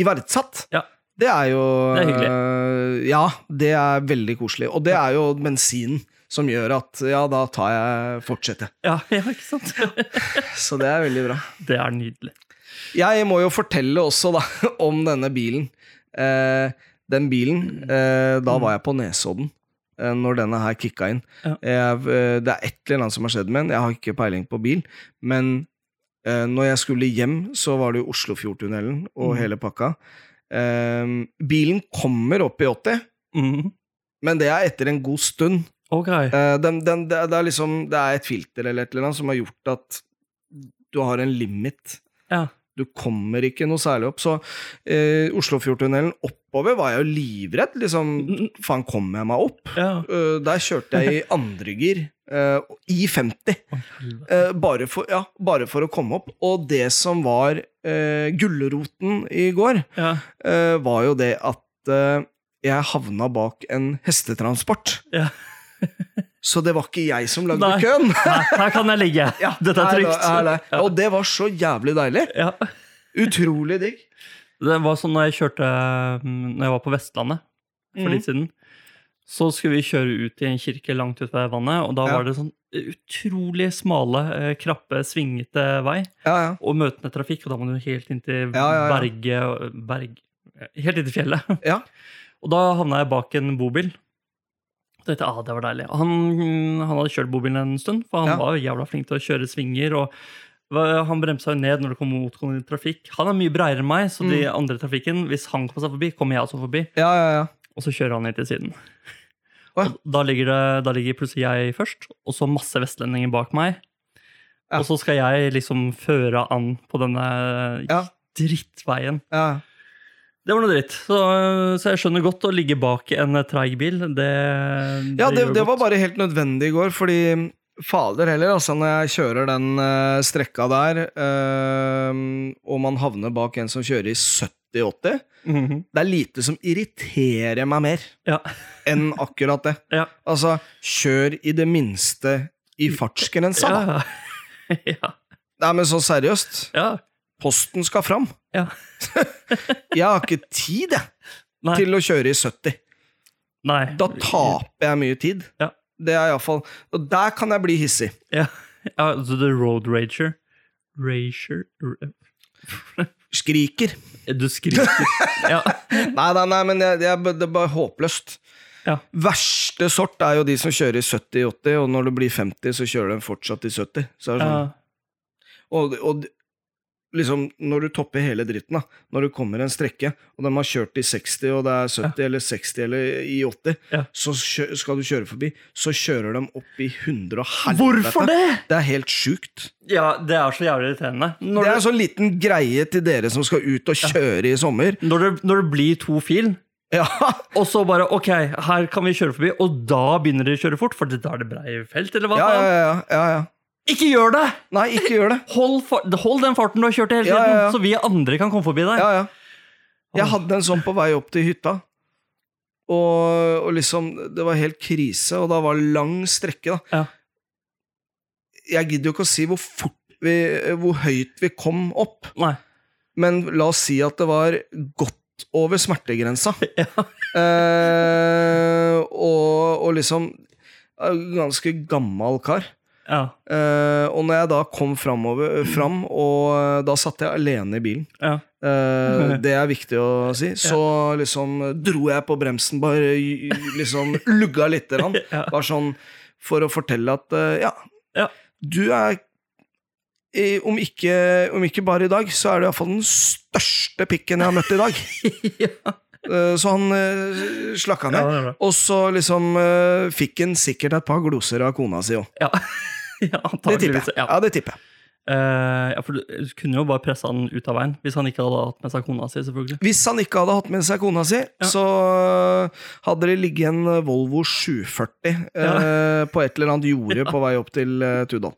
[SPEAKER 1] iverksatt,
[SPEAKER 2] Ja.
[SPEAKER 1] det er jo
[SPEAKER 2] Det er hyggelig.
[SPEAKER 1] øh, ja, det er veldig koselig. Og det er jo bensinen som gjør at ja, da tar jeg fortsetter.
[SPEAKER 2] Ja, ja, ikke sant?
[SPEAKER 1] Så det er veldig bra.
[SPEAKER 2] Det er nydelig.
[SPEAKER 1] Jeg må jo fortelle også da om denne bilen. Eh, den bilen, eh, da var jeg på Nesodden. eh, Når denne her kicka inn.
[SPEAKER 2] Ja.
[SPEAKER 1] Jeg, eh, det er et eller annet som har skjedd med den. Jeg har ikke peiling på bil. Men eh, når jeg skulle hjem, så var det jo Oslofjordtunnelen og
[SPEAKER 2] Mm.
[SPEAKER 1] hele pakka. Eh, bilen kommer opp i 80,
[SPEAKER 2] Mm.
[SPEAKER 1] men det er etter en god stund.
[SPEAKER 2] Ok.
[SPEAKER 1] Eh, den, den, det, er- det er liksom, det er et filter eller et eller annet som har gjort at du har en limit.
[SPEAKER 2] Ja.
[SPEAKER 1] Du kommer ikke noe særlig opp. Så eh, Oslofjordtunnelen oppover var jeg jo livredd. Liksom,
[SPEAKER 2] Mm.
[SPEAKER 1] faen, kommer jeg meg opp?
[SPEAKER 2] Ja.
[SPEAKER 1] Eh, der kjørte jeg i andregir. eh, I 50.
[SPEAKER 2] Å, helvete.
[SPEAKER 1] eh, bare, for, ja, bare for å komme opp. Og det som var eh, gulroten i går,
[SPEAKER 2] Ja.
[SPEAKER 1] eh, var jo det at eh, jeg havna bak en hestetransport.
[SPEAKER 2] Ja.
[SPEAKER 1] Så det var ikke jeg som lagde
[SPEAKER 2] Nei.
[SPEAKER 1] køen!
[SPEAKER 2] Nei, her kan jeg ligge.
[SPEAKER 1] Ja,
[SPEAKER 2] Dette er
[SPEAKER 1] her
[SPEAKER 2] trygt.
[SPEAKER 1] da- her da. Og det var så jævlig deilig.
[SPEAKER 2] Ja.
[SPEAKER 1] Utrolig digg.
[SPEAKER 2] Det var sånn når jeg kjørte mm, Når jeg var på Vestlandet for litt siden, så skulle vi kjøre ut i en kirke langt ut ved vannet, og da
[SPEAKER 1] Ja.
[SPEAKER 2] var det sånn utrolig smale, eh, krappe, svingete vei,
[SPEAKER 1] Ja, ja.
[SPEAKER 2] og møtende trafikk, og da må du helt inn til
[SPEAKER 1] Ja, ja, ja.
[SPEAKER 2] berget og- berg, Helt inn til fjellet.
[SPEAKER 1] Ja.
[SPEAKER 2] Og da havna jeg bak en bobil. Og tenkte, ah, det var deilig. Han, han hadde kjørt bobilen en stund, for han
[SPEAKER 1] Ja.
[SPEAKER 2] var jo jævla flink til å kjøre svinger. og hva- han bremsa jo ned når det kom motgående trafikk. Han er mye breiere enn meg, så
[SPEAKER 1] Mm.
[SPEAKER 2] de andre i trafikken, hvis han kommer seg forbi, kommer jeg også forbi.
[SPEAKER 1] Ja, ja, ja.
[SPEAKER 2] Og så kjører han ned til siden.
[SPEAKER 1] Å ja.
[SPEAKER 2] Og da, ligger det, da ligger plutselig jeg først, og så masse vestlendinger bak meg.
[SPEAKER 1] Ja.
[SPEAKER 2] Og så skal jeg liksom føre an på denne
[SPEAKER 1] Ja.
[SPEAKER 2] drittveien.
[SPEAKER 1] ja.
[SPEAKER 2] Det var noe dritt. Så, så jeg skjønner godt å ligge bak en eh, treig bil. Det,
[SPEAKER 1] ja det,
[SPEAKER 2] gjør
[SPEAKER 1] det var
[SPEAKER 2] godt.
[SPEAKER 1] bare helt nødvendig i går, fordi fader heller, altså når jeg kjører den eh, strekka der, eh, og man havner bak en som kjører i 70-80,
[SPEAKER 2] Mhm.
[SPEAKER 1] det er lite som irriterer meg mer
[SPEAKER 2] Ja.
[SPEAKER 1] enn akkurat det.
[SPEAKER 2] Ja.
[SPEAKER 1] Altså, kjør i det minste i fartsgrensa, da.
[SPEAKER 2] Ja. ja.
[SPEAKER 1] Nei, men så seriøst,
[SPEAKER 2] ja.
[SPEAKER 1] posten skal fram.
[SPEAKER 2] Ja.
[SPEAKER 1] jeg har ikke tid, jeg,
[SPEAKER 2] Nei.
[SPEAKER 1] til å kjøre i 70.
[SPEAKER 2] Nei.
[SPEAKER 1] Da taper jeg mye tid.
[SPEAKER 2] Ja.
[SPEAKER 1] Det er iallfall Og der kan jeg bli hissig.
[SPEAKER 2] ja. ja, så The Road Rager. Rager
[SPEAKER 1] Skriker.
[SPEAKER 2] Du skriker. ja.
[SPEAKER 1] Nei, nei, nei, men jeg, jeg, det er bare håpløst.
[SPEAKER 2] Ja.
[SPEAKER 1] Verste sort er jo de som kjører i 70-80, og når du blir 50, så kjører de fortsatt i 70. Så er det sånn.
[SPEAKER 2] Ja.
[SPEAKER 1] Og, og liksom, når du topper hele dritten, da, når du kommer en strekke, og de har kjørt i 60, og det er 70 eller 60 eller i 80,
[SPEAKER 2] Ja.
[SPEAKER 1] så kjø skal du kjøre forbi, så kjører de opp i 100 og helvete.
[SPEAKER 2] Hvorfor det?!
[SPEAKER 1] Det er helt sjukt.
[SPEAKER 2] Ja, det er så jævlig irriterende. Når
[SPEAKER 1] det er
[SPEAKER 2] det,
[SPEAKER 1] en sånn liten greie til dere som skal ut og kjøre i sommer.
[SPEAKER 2] når det, når det blir to fil,
[SPEAKER 1] Ja,
[SPEAKER 2] og så bare OK, her kan vi kjøre forbi, og da begynner de å kjøre fort, for da er det brei felt, eller hva?
[SPEAKER 1] ja, ja.
[SPEAKER 2] faen?
[SPEAKER 1] ja, ja, ja.
[SPEAKER 2] Ikke gjør det!
[SPEAKER 1] Nei, ikke gjør det.
[SPEAKER 2] Hold, fa- hold den farten du har kjørt i hele
[SPEAKER 1] Ja,
[SPEAKER 2] tiden,
[SPEAKER 1] ja, ja.
[SPEAKER 2] så vi andre kan komme forbi deg.
[SPEAKER 1] Ja, ja. Jeg hadde en sånn på vei opp til hytta. Og, og liksom, det var helt krise, og da var det lang strekke, da.
[SPEAKER 2] Ja.
[SPEAKER 1] Jeg gidder jo ikke å si hvor fort vi, hvor høyt vi kom opp,
[SPEAKER 2] Nei.
[SPEAKER 1] men la oss si at det var godt over smertegrensa. Eh, og, og liksom eh, Ganske gammal kar.
[SPEAKER 2] Ja.
[SPEAKER 1] Eh, og når jeg da kom framover, fram, og eh, da satt jeg alene i bilen.
[SPEAKER 2] ja.
[SPEAKER 1] Eh, det er viktig å si. Så liksom dro jeg på bremsen, bare y- liksom lugga lite grann.
[SPEAKER 2] Ja.
[SPEAKER 1] Bare sånn for å fortelle at eh, ja,
[SPEAKER 2] Ja.
[SPEAKER 1] du er i- om ikke, om ikke bare i dag, så er du iallfall den største pikken jeg har møtt i dag. Eh, Så han eh, slakka
[SPEAKER 2] Ja,
[SPEAKER 1] ned.
[SPEAKER 2] det er bra.
[SPEAKER 1] Og så liksom eh, fikk han sikkert et par gloser av kona si òg.
[SPEAKER 2] Ja, ja
[SPEAKER 1] Det tipper
[SPEAKER 2] antakeligvis.
[SPEAKER 1] jeg.
[SPEAKER 2] Ja.
[SPEAKER 1] Ja, det tipper jeg.
[SPEAKER 2] Eh, ja, for du, du kunne jo bare pressa han ut av veien, hvis han ikke hadde hatt med seg kona si, selvfølgelig.
[SPEAKER 1] Hvis han ikke hadde hatt med seg kona si, så eh, hadde det ligget en eh, Volvo 740 eh, på et eller annet jorde på vei opp til eh, Tudal.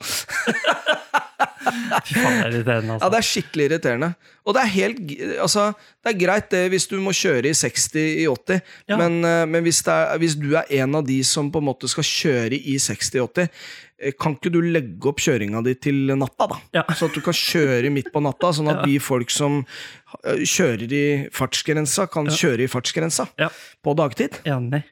[SPEAKER 2] Fy faen, det er irriterende,
[SPEAKER 1] Ja,
[SPEAKER 2] altså.
[SPEAKER 1] det er skikkelig irriterende. Og det er helt g- Altså, det er greit det hvis du må kjøre i 60 i 80,
[SPEAKER 2] Ja.
[SPEAKER 1] men, eh, men hvis, det er, hvis du er en av de som på en måte skal kjøre i 60 80, eh, kan ikke du legge opp kjøringa di til natta, da?
[SPEAKER 2] Ja.
[SPEAKER 1] Sånn at du kan kjøre midt på natta, sånn at de folk som eh, kjører i fartsgrensa, kan kjøre i fartsgrensa
[SPEAKER 2] Ja.
[SPEAKER 1] på dagtid.
[SPEAKER 2] Enig.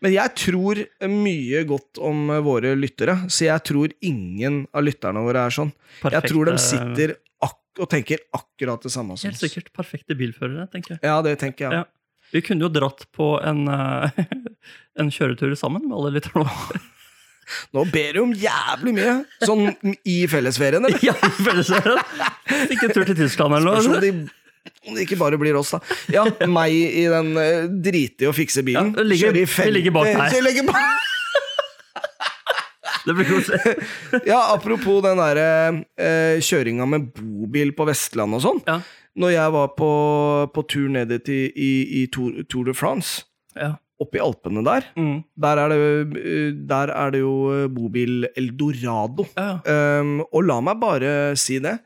[SPEAKER 1] Men jeg tror mye godt om eh, våre lyttere, så jeg tror ingen av lytterne våre er sånn.
[SPEAKER 2] Perfekte-
[SPEAKER 1] Jeg tror de sitter ak og tenker akkurat det samme som
[SPEAKER 2] Helt
[SPEAKER 1] oss.
[SPEAKER 2] sikkert perfekte bilførere, tenker jeg.
[SPEAKER 1] Ja, det tenker jeg.
[SPEAKER 2] Ja. Vi kunne jo dratt på en, eh, en kjøretur sammen med alle lytterne våre.
[SPEAKER 1] Nå ber du om jævlig mye! Sånn i fellesferien, eller?
[SPEAKER 2] ja, i fellesferien. Ikke en tur til Tyskland eller
[SPEAKER 1] Spørs om
[SPEAKER 2] noe.
[SPEAKER 1] sånn de om det ikke bare blir oss, da. Ja, meg i den eh, drite i å fikse bilen.
[SPEAKER 2] Ja, ligger-
[SPEAKER 1] Kjøre i
[SPEAKER 2] vi ligger bak deg.
[SPEAKER 1] Jeg ligger bak-
[SPEAKER 2] Det blir koselig.
[SPEAKER 1] Ja, apropos den derre eh, kjøringa med bobil på Vestlandet og sånn.
[SPEAKER 2] Ja.
[SPEAKER 1] Når jeg var på, på tur nede til, i, i Tour, Tour de France,
[SPEAKER 2] Ja.
[SPEAKER 1] oppe i Alpene der,
[SPEAKER 2] Mm.
[SPEAKER 1] der er det, eh, der er det jo eh, bobil Eldorado.
[SPEAKER 2] Ja, ja.
[SPEAKER 1] Um, og la meg bare si det.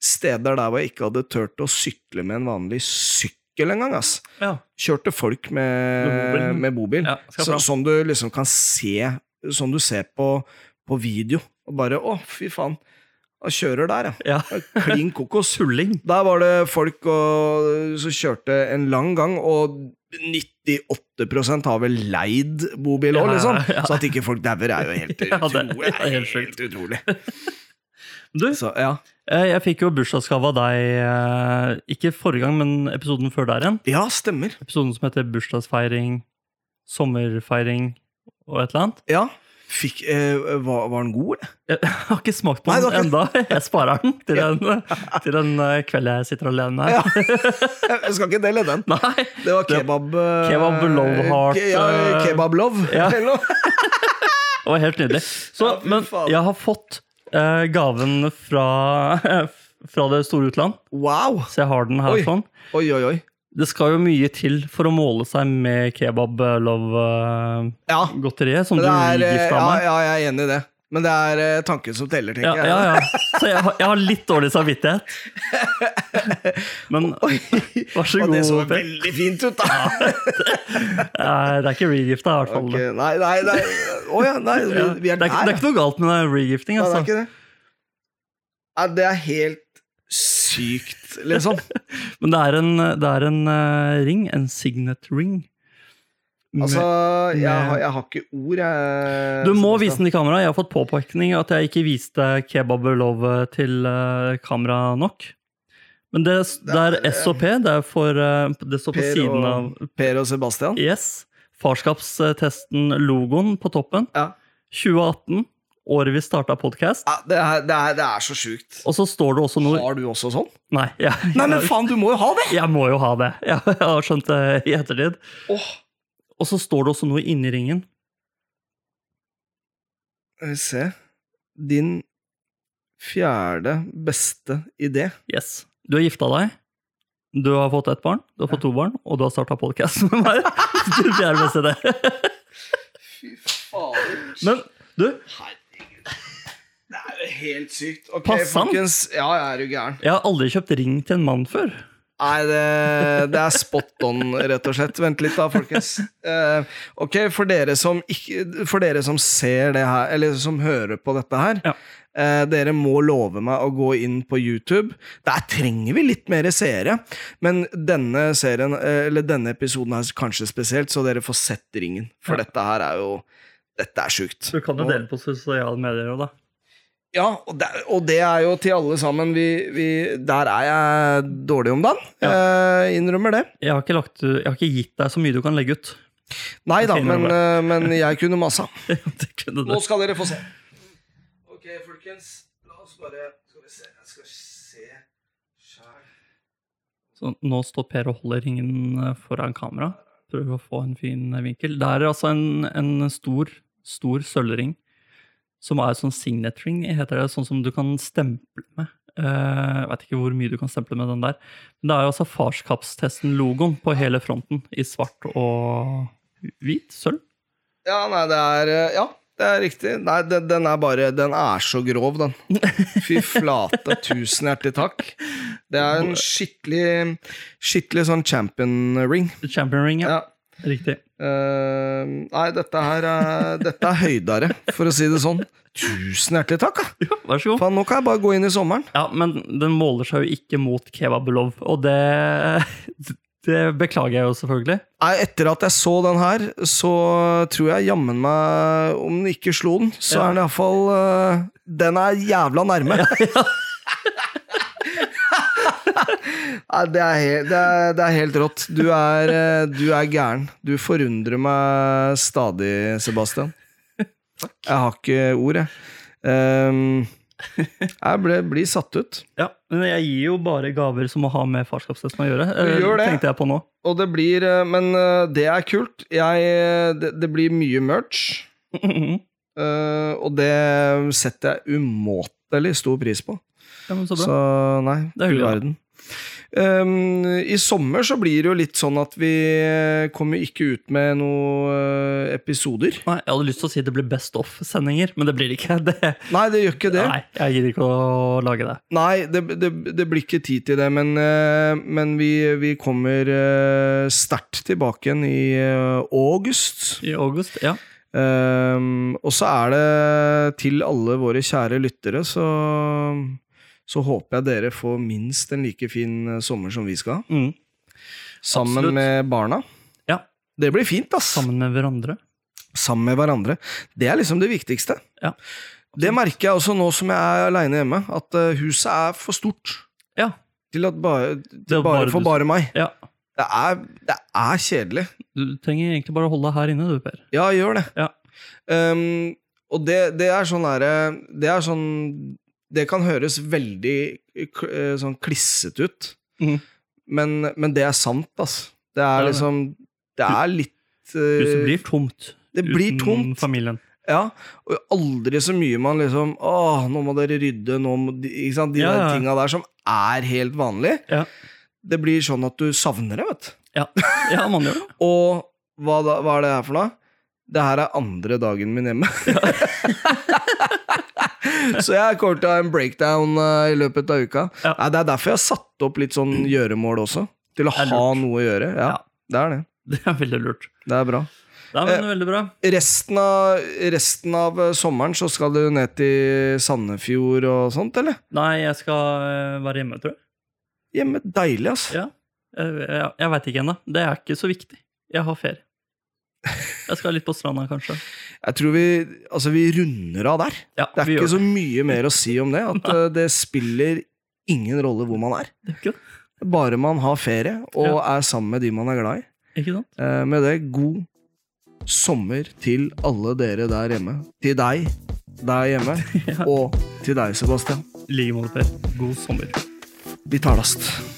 [SPEAKER 1] Steder der hvor jeg ikke hadde turt å sykle med en vanlig sykkel engang. ass.
[SPEAKER 2] ja.
[SPEAKER 1] Kjørte folk
[SPEAKER 2] Med
[SPEAKER 1] med,
[SPEAKER 2] bobil.
[SPEAKER 1] med bobil.
[SPEAKER 2] ja skal
[SPEAKER 1] Så,
[SPEAKER 2] fram.
[SPEAKER 1] som du liksom kan se Som du ser på, på video Og bare, å fy faen Han kjører der, ja
[SPEAKER 2] Ja.
[SPEAKER 1] Klin kokos
[SPEAKER 2] Tulling.
[SPEAKER 1] Der var det folk og, som kjørte en lang gang Og 98% har vel leid bobil også,
[SPEAKER 2] Ja,
[SPEAKER 1] liksom
[SPEAKER 2] ja.
[SPEAKER 1] Så at ikke folk dauer er jo helt
[SPEAKER 2] Ja, det-
[SPEAKER 1] utrolig
[SPEAKER 2] det er helt sjukt.
[SPEAKER 1] Helt utrolig
[SPEAKER 2] Du,
[SPEAKER 1] Så ja
[SPEAKER 2] Eh, Jeg fikk jo bursdagsgave av deg, eh, ikke forrige gang, men episoden før der igjen.
[SPEAKER 1] Ja, stemmer
[SPEAKER 2] Episoden som heter bursdagsfeiring, sommerfeiring og et eller annet.
[SPEAKER 1] Ja Fikk, eh, var, var den god? eller?
[SPEAKER 2] Jeg har ikke smakt på
[SPEAKER 1] Nei,
[SPEAKER 2] den
[SPEAKER 1] det
[SPEAKER 2] enda. Jeg sparer den til en, til en eh, kveld jeg sitter alene her.
[SPEAKER 1] Ja Jeg skal ikke dele den
[SPEAKER 2] Nei,
[SPEAKER 1] Det var kebab eh,
[SPEAKER 2] Kebab love heart,
[SPEAKER 1] ke- Ja,
[SPEAKER 2] eh,
[SPEAKER 1] kebab love
[SPEAKER 2] ja.
[SPEAKER 1] eller noe.
[SPEAKER 2] det var helt nydelig. Så,
[SPEAKER 1] Ja, fy
[SPEAKER 2] men
[SPEAKER 1] faen.
[SPEAKER 2] jeg har fått eh, gaven fra, fra det store utland,
[SPEAKER 1] Wow!
[SPEAKER 2] så jeg har den her
[SPEAKER 1] Oi.
[SPEAKER 2] sånn.
[SPEAKER 1] Oi, oi, oi.
[SPEAKER 2] Det skal jo mye til for å måle seg med eh, kebab-love-godteriet
[SPEAKER 1] Ja,
[SPEAKER 2] eh, som
[SPEAKER 1] men
[SPEAKER 2] du
[SPEAKER 1] det er, eh,
[SPEAKER 2] gifta
[SPEAKER 1] ja,
[SPEAKER 2] meg.
[SPEAKER 1] ja, jeg er enig i det. Men det er eh, tanken som teller,
[SPEAKER 2] Ja,
[SPEAKER 1] tenker
[SPEAKER 2] ja, ja. Så jeg har, jeg har litt dårlig samvittighet. Men
[SPEAKER 1] jeg.
[SPEAKER 2] vær så
[SPEAKER 1] Og
[SPEAKER 2] god.
[SPEAKER 1] det så
[SPEAKER 2] Per.
[SPEAKER 1] veldig fint ut, da!
[SPEAKER 2] Nei, det er ikke regifta, i hvert fall.
[SPEAKER 1] Ok, Nei, nei, nei. Å ja, nei, vi,
[SPEAKER 2] Ja.
[SPEAKER 1] vi er
[SPEAKER 2] det, er, ikke- det
[SPEAKER 1] der.
[SPEAKER 2] er ikke noe galt med den regifting.
[SPEAKER 1] ja. Nei, det
[SPEAKER 2] Altså.
[SPEAKER 1] er ikke det. Nei, det er helt sykt, liksom.
[SPEAKER 2] Men det er en, det er en eh, ring, en signet ring. Med-
[SPEAKER 1] Altså, jeg, har- jeg har ikke ord, jeg.
[SPEAKER 2] du må vise den til kamera. Jeg har fått påpakning at jeg ikke viste kebablovet til eh, kamera nok. Men det, det er SOP. Det, er for, eh, det står på
[SPEAKER 1] Per
[SPEAKER 2] siden
[SPEAKER 1] og-
[SPEAKER 2] av
[SPEAKER 1] Per og Sebastian.
[SPEAKER 2] Yes. Farskapstesten-logoen på toppen.
[SPEAKER 1] Ja.
[SPEAKER 2] 2018, året vi starta podkast.
[SPEAKER 1] Ja, det, er, det, er, det er så sjukt.
[SPEAKER 2] Og så står det også noe
[SPEAKER 1] Har du også sånn?
[SPEAKER 2] Nei, jeg,
[SPEAKER 1] Nei, men faen, du må jo ha det!
[SPEAKER 2] jeg må jo ha det. Jeg, jeg har skjønt det i ettertid.
[SPEAKER 1] Åh,
[SPEAKER 2] Og så står det også noe inni ringen.
[SPEAKER 1] skal vi se. Din fjerde beste idé.
[SPEAKER 2] Yes. Du har gifta deg. Du har fått ett barn, du har fått to barn, og du har starta podkast med meg. Du fjerde beste det.
[SPEAKER 1] Fy fader.
[SPEAKER 2] Men du,
[SPEAKER 1] Herregud. Det er jo helt sykt. Ok,
[SPEAKER 2] Passer han?
[SPEAKER 1] folkens. Ja, jeg er jo gæren.
[SPEAKER 2] jeg har aldri kjøpt ring til en mann før.
[SPEAKER 1] Nei, det, det er spot on, rett og slett. Vent litt, da, folkens. Eh, ok, for dere, som ikke, for dere som ser det her, eller som hører på dette her
[SPEAKER 2] Ja.
[SPEAKER 1] eh, Dere må love meg å gå inn på YouTube. Der trenger vi litt mer seere. Men denne serien, eh, eller denne episoden her kanskje spesielt, så dere får sett ringen. For
[SPEAKER 2] Ja.
[SPEAKER 1] dette her er jo Dette er sjukt.
[SPEAKER 2] Du kan jo
[SPEAKER 1] Og-
[SPEAKER 2] dele på sosiale medier òg, da.
[SPEAKER 1] Ja, og det, og det er jo til alle sammen. Vi, vi, der er jeg dårlig om dagen. Eh, innrømmer det.
[SPEAKER 2] Jeg har, ikke lagt, jeg har ikke gitt deg så mye du kan legge ut.
[SPEAKER 1] Nei da,
[SPEAKER 2] Jeg
[SPEAKER 1] men,
[SPEAKER 2] innrømmer
[SPEAKER 1] eh, men jeg kunne masa.
[SPEAKER 2] Det kunne du.
[SPEAKER 1] Nå skal dere få se. Ok, folkens. La oss bare Skal vi se. Jeg skal se sjæl.
[SPEAKER 2] Så nå står Per og holder ringen eh, foran kamera. Prøver å få en fin eh, vinkel. Det er altså en, en stor, stor sølvring som er sånn signet ring, heter det. Sånn som du kan stemple med. Eh, Jeg vet ikke hvor mye du kan stemple med den der. Men det er jo altså farskapstesten-logoen på hele fronten i svart og hvit sølv.
[SPEAKER 1] Ja, nei, det er eh, Ja, det er riktig. Nei, den, den er bare Den er så grov, den. Fy flate. Tusen hjertelig takk. Det er en skikkelig Skikkelig sånn champion ring.
[SPEAKER 2] Champion ring, ja.
[SPEAKER 1] Ja.
[SPEAKER 2] Riktig.
[SPEAKER 1] Eh, nei, dette her er, dette er høydere, for å si det sånn. Tusen hjertelig takk! da.
[SPEAKER 2] Ja, vær så god.
[SPEAKER 1] Faen, nå kan jeg bare gå inn i sommeren.
[SPEAKER 2] Ja, men den måler seg jo ikke mot kebabelov, og det, det beklager jeg jo selvfølgelig.
[SPEAKER 1] Nei, etter at jeg så den her, så tror jeg jammen meg Om den ikke slo den, så
[SPEAKER 2] Ja.
[SPEAKER 1] er den iallfall uh, Den er jævla nærme. Nei, det er, helt, det, er, det er helt rått. Du er, eh, du er gæren. Du forundrer meg stadig, Sebastian. Jeg har ikke ord, jeg. Ehm, jeg ble, blir satt ut.
[SPEAKER 2] Ja, men jeg gir jo bare gaver som å ha med farskapstesten å gjøre. eh,
[SPEAKER 1] gjør det.
[SPEAKER 2] Tenkte jeg på nå.
[SPEAKER 1] Og det blir eh, Men eh, det er kult. Jeg, eh, det, det blir mye merch.
[SPEAKER 2] ja,
[SPEAKER 1] Eh, og det setter jeg umåtelig stor pris på.
[SPEAKER 2] men så
[SPEAKER 1] Så,
[SPEAKER 2] bra.
[SPEAKER 1] nei,
[SPEAKER 2] Det er
[SPEAKER 1] du
[SPEAKER 2] hyggelig, da.
[SPEAKER 1] verden. Um, I sommer så blir det jo litt sånn at vi eh, kommer ikke ut med noen eh, episoder.
[SPEAKER 2] Nei, jeg hadde lyst til å si det blir Best of-sendinger, men det blir det ikke. Det,
[SPEAKER 1] Nei, det gjør ikke det.
[SPEAKER 2] Nei, jeg gidder ikke å lage det.
[SPEAKER 1] Nei, det, det, det blir ikke tid til det, men, eh, men vi, vi kommer eh, sterkt tilbake igjen i eh, august.
[SPEAKER 2] I august, ja.
[SPEAKER 1] Ehm, og så er det til alle våre kjære lyttere, så, så håper jeg dere får minst en like fin eh, sommer som vi skal ha.
[SPEAKER 2] Mm.
[SPEAKER 1] Sammen
[SPEAKER 2] Absolutt.
[SPEAKER 1] med barna.
[SPEAKER 2] Ja.
[SPEAKER 1] Det blir fint, ass. Sammen.
[SPEAKER 2] Sammen med hverandre.
[SPEAKER 1] med hverandre. Det er liksom det viktigste.
[SPEAKER 2] Ja.
[SPEAKER 1] Det merker jeg også nå som jeg er aleine hjemme, at eh, huset er for stort
[SPEAKER 2] Ja.
[SPEAKER 1] til at bare,
[SPEAKER 2] Det er
[SPEAKER 1] til bare
[SPEAKER 2] bare
[SPEAKER 1] for
[SPEAKER 2] du-
[SPEAKER 1] bare meg.
[SPEAKER 2] ja.
[SPEAKER 1] Det er, det er kjedelig.
[SPEAKER 2] Du trenger egentlig bare å holde deg her inne, du, Per.
[SPEAKER 1] Ja, gjør det.
[SPEAKER 2] Ja.
[SPEAKER 1] Ehm, og det, det er sånn derre Det er sånn Det kan høres veldig k- eh, sånn klissete ut,
[SPEAKER 2] Mhm.
[SPEAKER 1] men, men det er sant, altså. Det er
[SPEAKER 2] Det er det.
[SPEAKER 1] liksom Det er litt eh,
[SPEAKER 2] Huset blir tomt.
[SPEAKER 1] det blir
[SPEAKER 2] uten
[SPEAKER 1] tomt.
[SPEAKER 2] familien.
[SPEAKER 1] Ja, og aldri så mye man liksom Åh, nå må dere rydde, nå må de, Ikke sant? De
[SPEAKER 2] Ja,
[SPEAKER 1] der
[SPEAKER 2] ja.
[SPEAKER 1] tinga der som er helt vanlig.
[SPEAKER 2] Ja.
[SPEAKER 1] Det blir sånn at du savner det, vet du.
[SPEAKER 2] Ja, ja man gjør det.
[SPEAKER 1] Og hva, da, hva er det her for noe? Det her er andre dagen min hjemme. så jeg kommer til å ha en breakdown eh, i løpet av uka.
[SPEAKER 2] Ja.
[SPEAKER 1] Nei, det er derfor jeg har satt opp litt sånn gjøremål også. Til å
[SPEAKER 2] Det er
[SPEAKER 1] ha noe å gjøre. Ja,
[SPEAKER 2] Ja.
[SPEAKER 1] Det er det.
[SPEAKER 2] Det er veldig lurt.
[SPEAKER 1] Det er bra.
[SPEAKER 2] Det
[SPEAKER 1] Eh.
[SPEAKER 2] er veldig bra.
[SPEAKER 1] Resten av, resten av eh, sommeren så skal du ned til Sandefjord og sånt, eller?
[SPEAKER 2] Nei, jeg skal eh, være hjemme, tror jeg. Eh,
[SPEAKER 1] Hjemme. Deilig, ass.
[SPEAKER 2] Ja. Jeg, jeg, jeg veit ikke ennå. Det er ikke så viktig. Jeg har ferie. Jeg skal litt på stranda, kanskje.
[SPEAKER 1] Jeg tror vi, altså, vi runder av der.
[SPEAKER 2] Ja,
[SPEAKER 1] Det er
[SPEAKER 2] vi gjør
[SPEAKER 1] ikke så mye mer å si om det. At eh, det spiller ingen rolle hvor man er.
[SPEAKER 2] det. Ikke, det?
[SPEAKER 1] Bare man har ferie og er sammen med de man er glad i.
[SPEAKER 2] ikke sant?
[SPEAKER 1] Eh, Med det, god sommer til alle dere der hjemme. Til deg der hjemme, og til deg, Sebastian.
[SPEAKER 2] I like måte, Per. God sommer.
[SPEAKER 1] Vi talast.